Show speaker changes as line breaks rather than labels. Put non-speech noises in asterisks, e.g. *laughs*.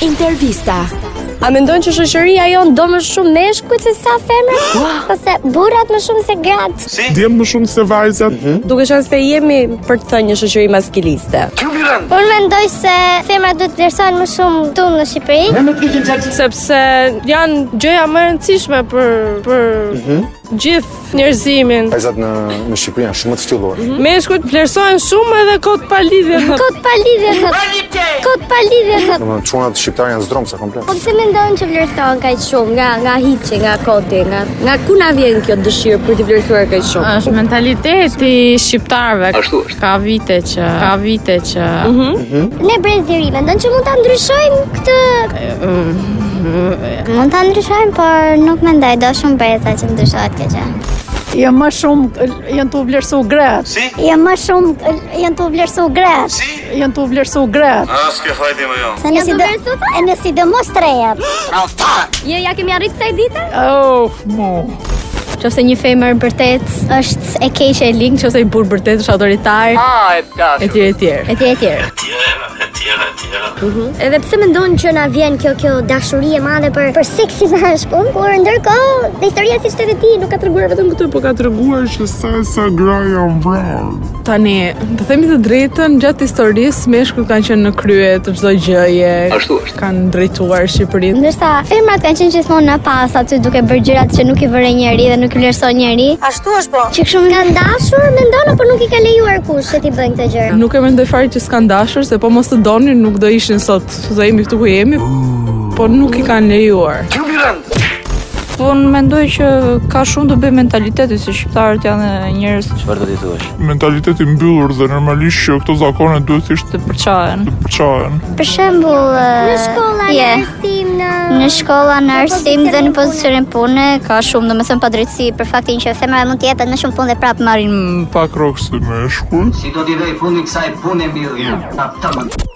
Intervista.
A mendon që shoqëria jon do më shumë meshkujt se sa femrat?
Ose burrat më shumë se gratë.
Djem më shumë se vajzat.
Duke qenë se jemi për të thënë një shoqëri maskiliste.
Unë mendoj se femrat duhet të vlerësohen më shumë këtu në Shqipëri.
sepse janë gjëja më e rëndësishme për për gjithë njerëzimin.
Vajzat në në Shqipëri janë shumë të ftyllur.
Meshkujt vlerësohen shumë edhe kot pa lidhje.
*laughs*
Kot pa lidhje në Kot pa lidhje në
Domethënë çunat shqiptar janë zdromsa komplet.
Po pse mendojnë që vlerësohen kaq shumë nga nga hiçi, nga koti, nga
Nga ku na vjen kjo dëshirë për të vlerësuar kaq shumë?
është mentaliteti shqiptarëve. Ashtu është. Ka vite që ka vite që
Ne breziri, mendon që mund ta ndryshojmë këtë Mm. Mund ta ndryshojmë, por nuk mendoj do shumë breza që ndryshohet kjo gjë.
Jo më shumë janë të vlerësu gratë,
Jo më shumë janë të vlerësu gratë.
janë të vlerësu gratë.
Se në si do e në si do mos trejat.
Je ja kemi arrit kësaj dite?
Oh, mo.
Nëse një femër vërtet
Është e keqe e ligë
nëse i burr vërtet është autoritar. Ah, e dashur. Etj etj.
e tjera e tjera. Edhe pse mendon që na vjen kjo kjo dashuri e madhe për për seksin e shpun, kur ndërkohë dhe historia siç thotë ti nuk ka treguar vetëm
Këtë po ka treguar që sa e sa gra janë vrarë.
tani, të themi të drejtën, gjatë historisë meshkujt kanë qenë në krye të çdo gjëje. Ashtu është. Kanë drejtuar Shqipërinë.
Ndërsa femrat kanë qenë gjithmonë në pas aty duke bërë gjërat që nuk i vëre njeri dhe nuk i vlerëson njeri. Ashtu është po. Që kështu nga ndashur mendon apo nuk i ka lejuar kush se ti bën këtë gjë.
Nuk e mendoj fare që s'kan dashur, se po mos të donin nuk do ishin sot. Do jemi këtu ku jemi. Po nuk i kanë lejuar.
Unë mendoj që ka shumë të bëjë mentaliteti se shqiptarët janë njerëz
Mentaliteti mbyllur dhe normalisht që këto zakone duhet thjesht
të përçahen.
të përçahen.
Për shembull në shkolla në arsim në në shkolla në arsim dhe në pozicionin pune ka shumë domethënë padrejtësi për faktin që femra mund të jepet më shumë punë dhe prapë marrin
Pak rokë si me shkuj.
Si do t'i dhej fundi kësaj pune mbilli. Ta tëmë.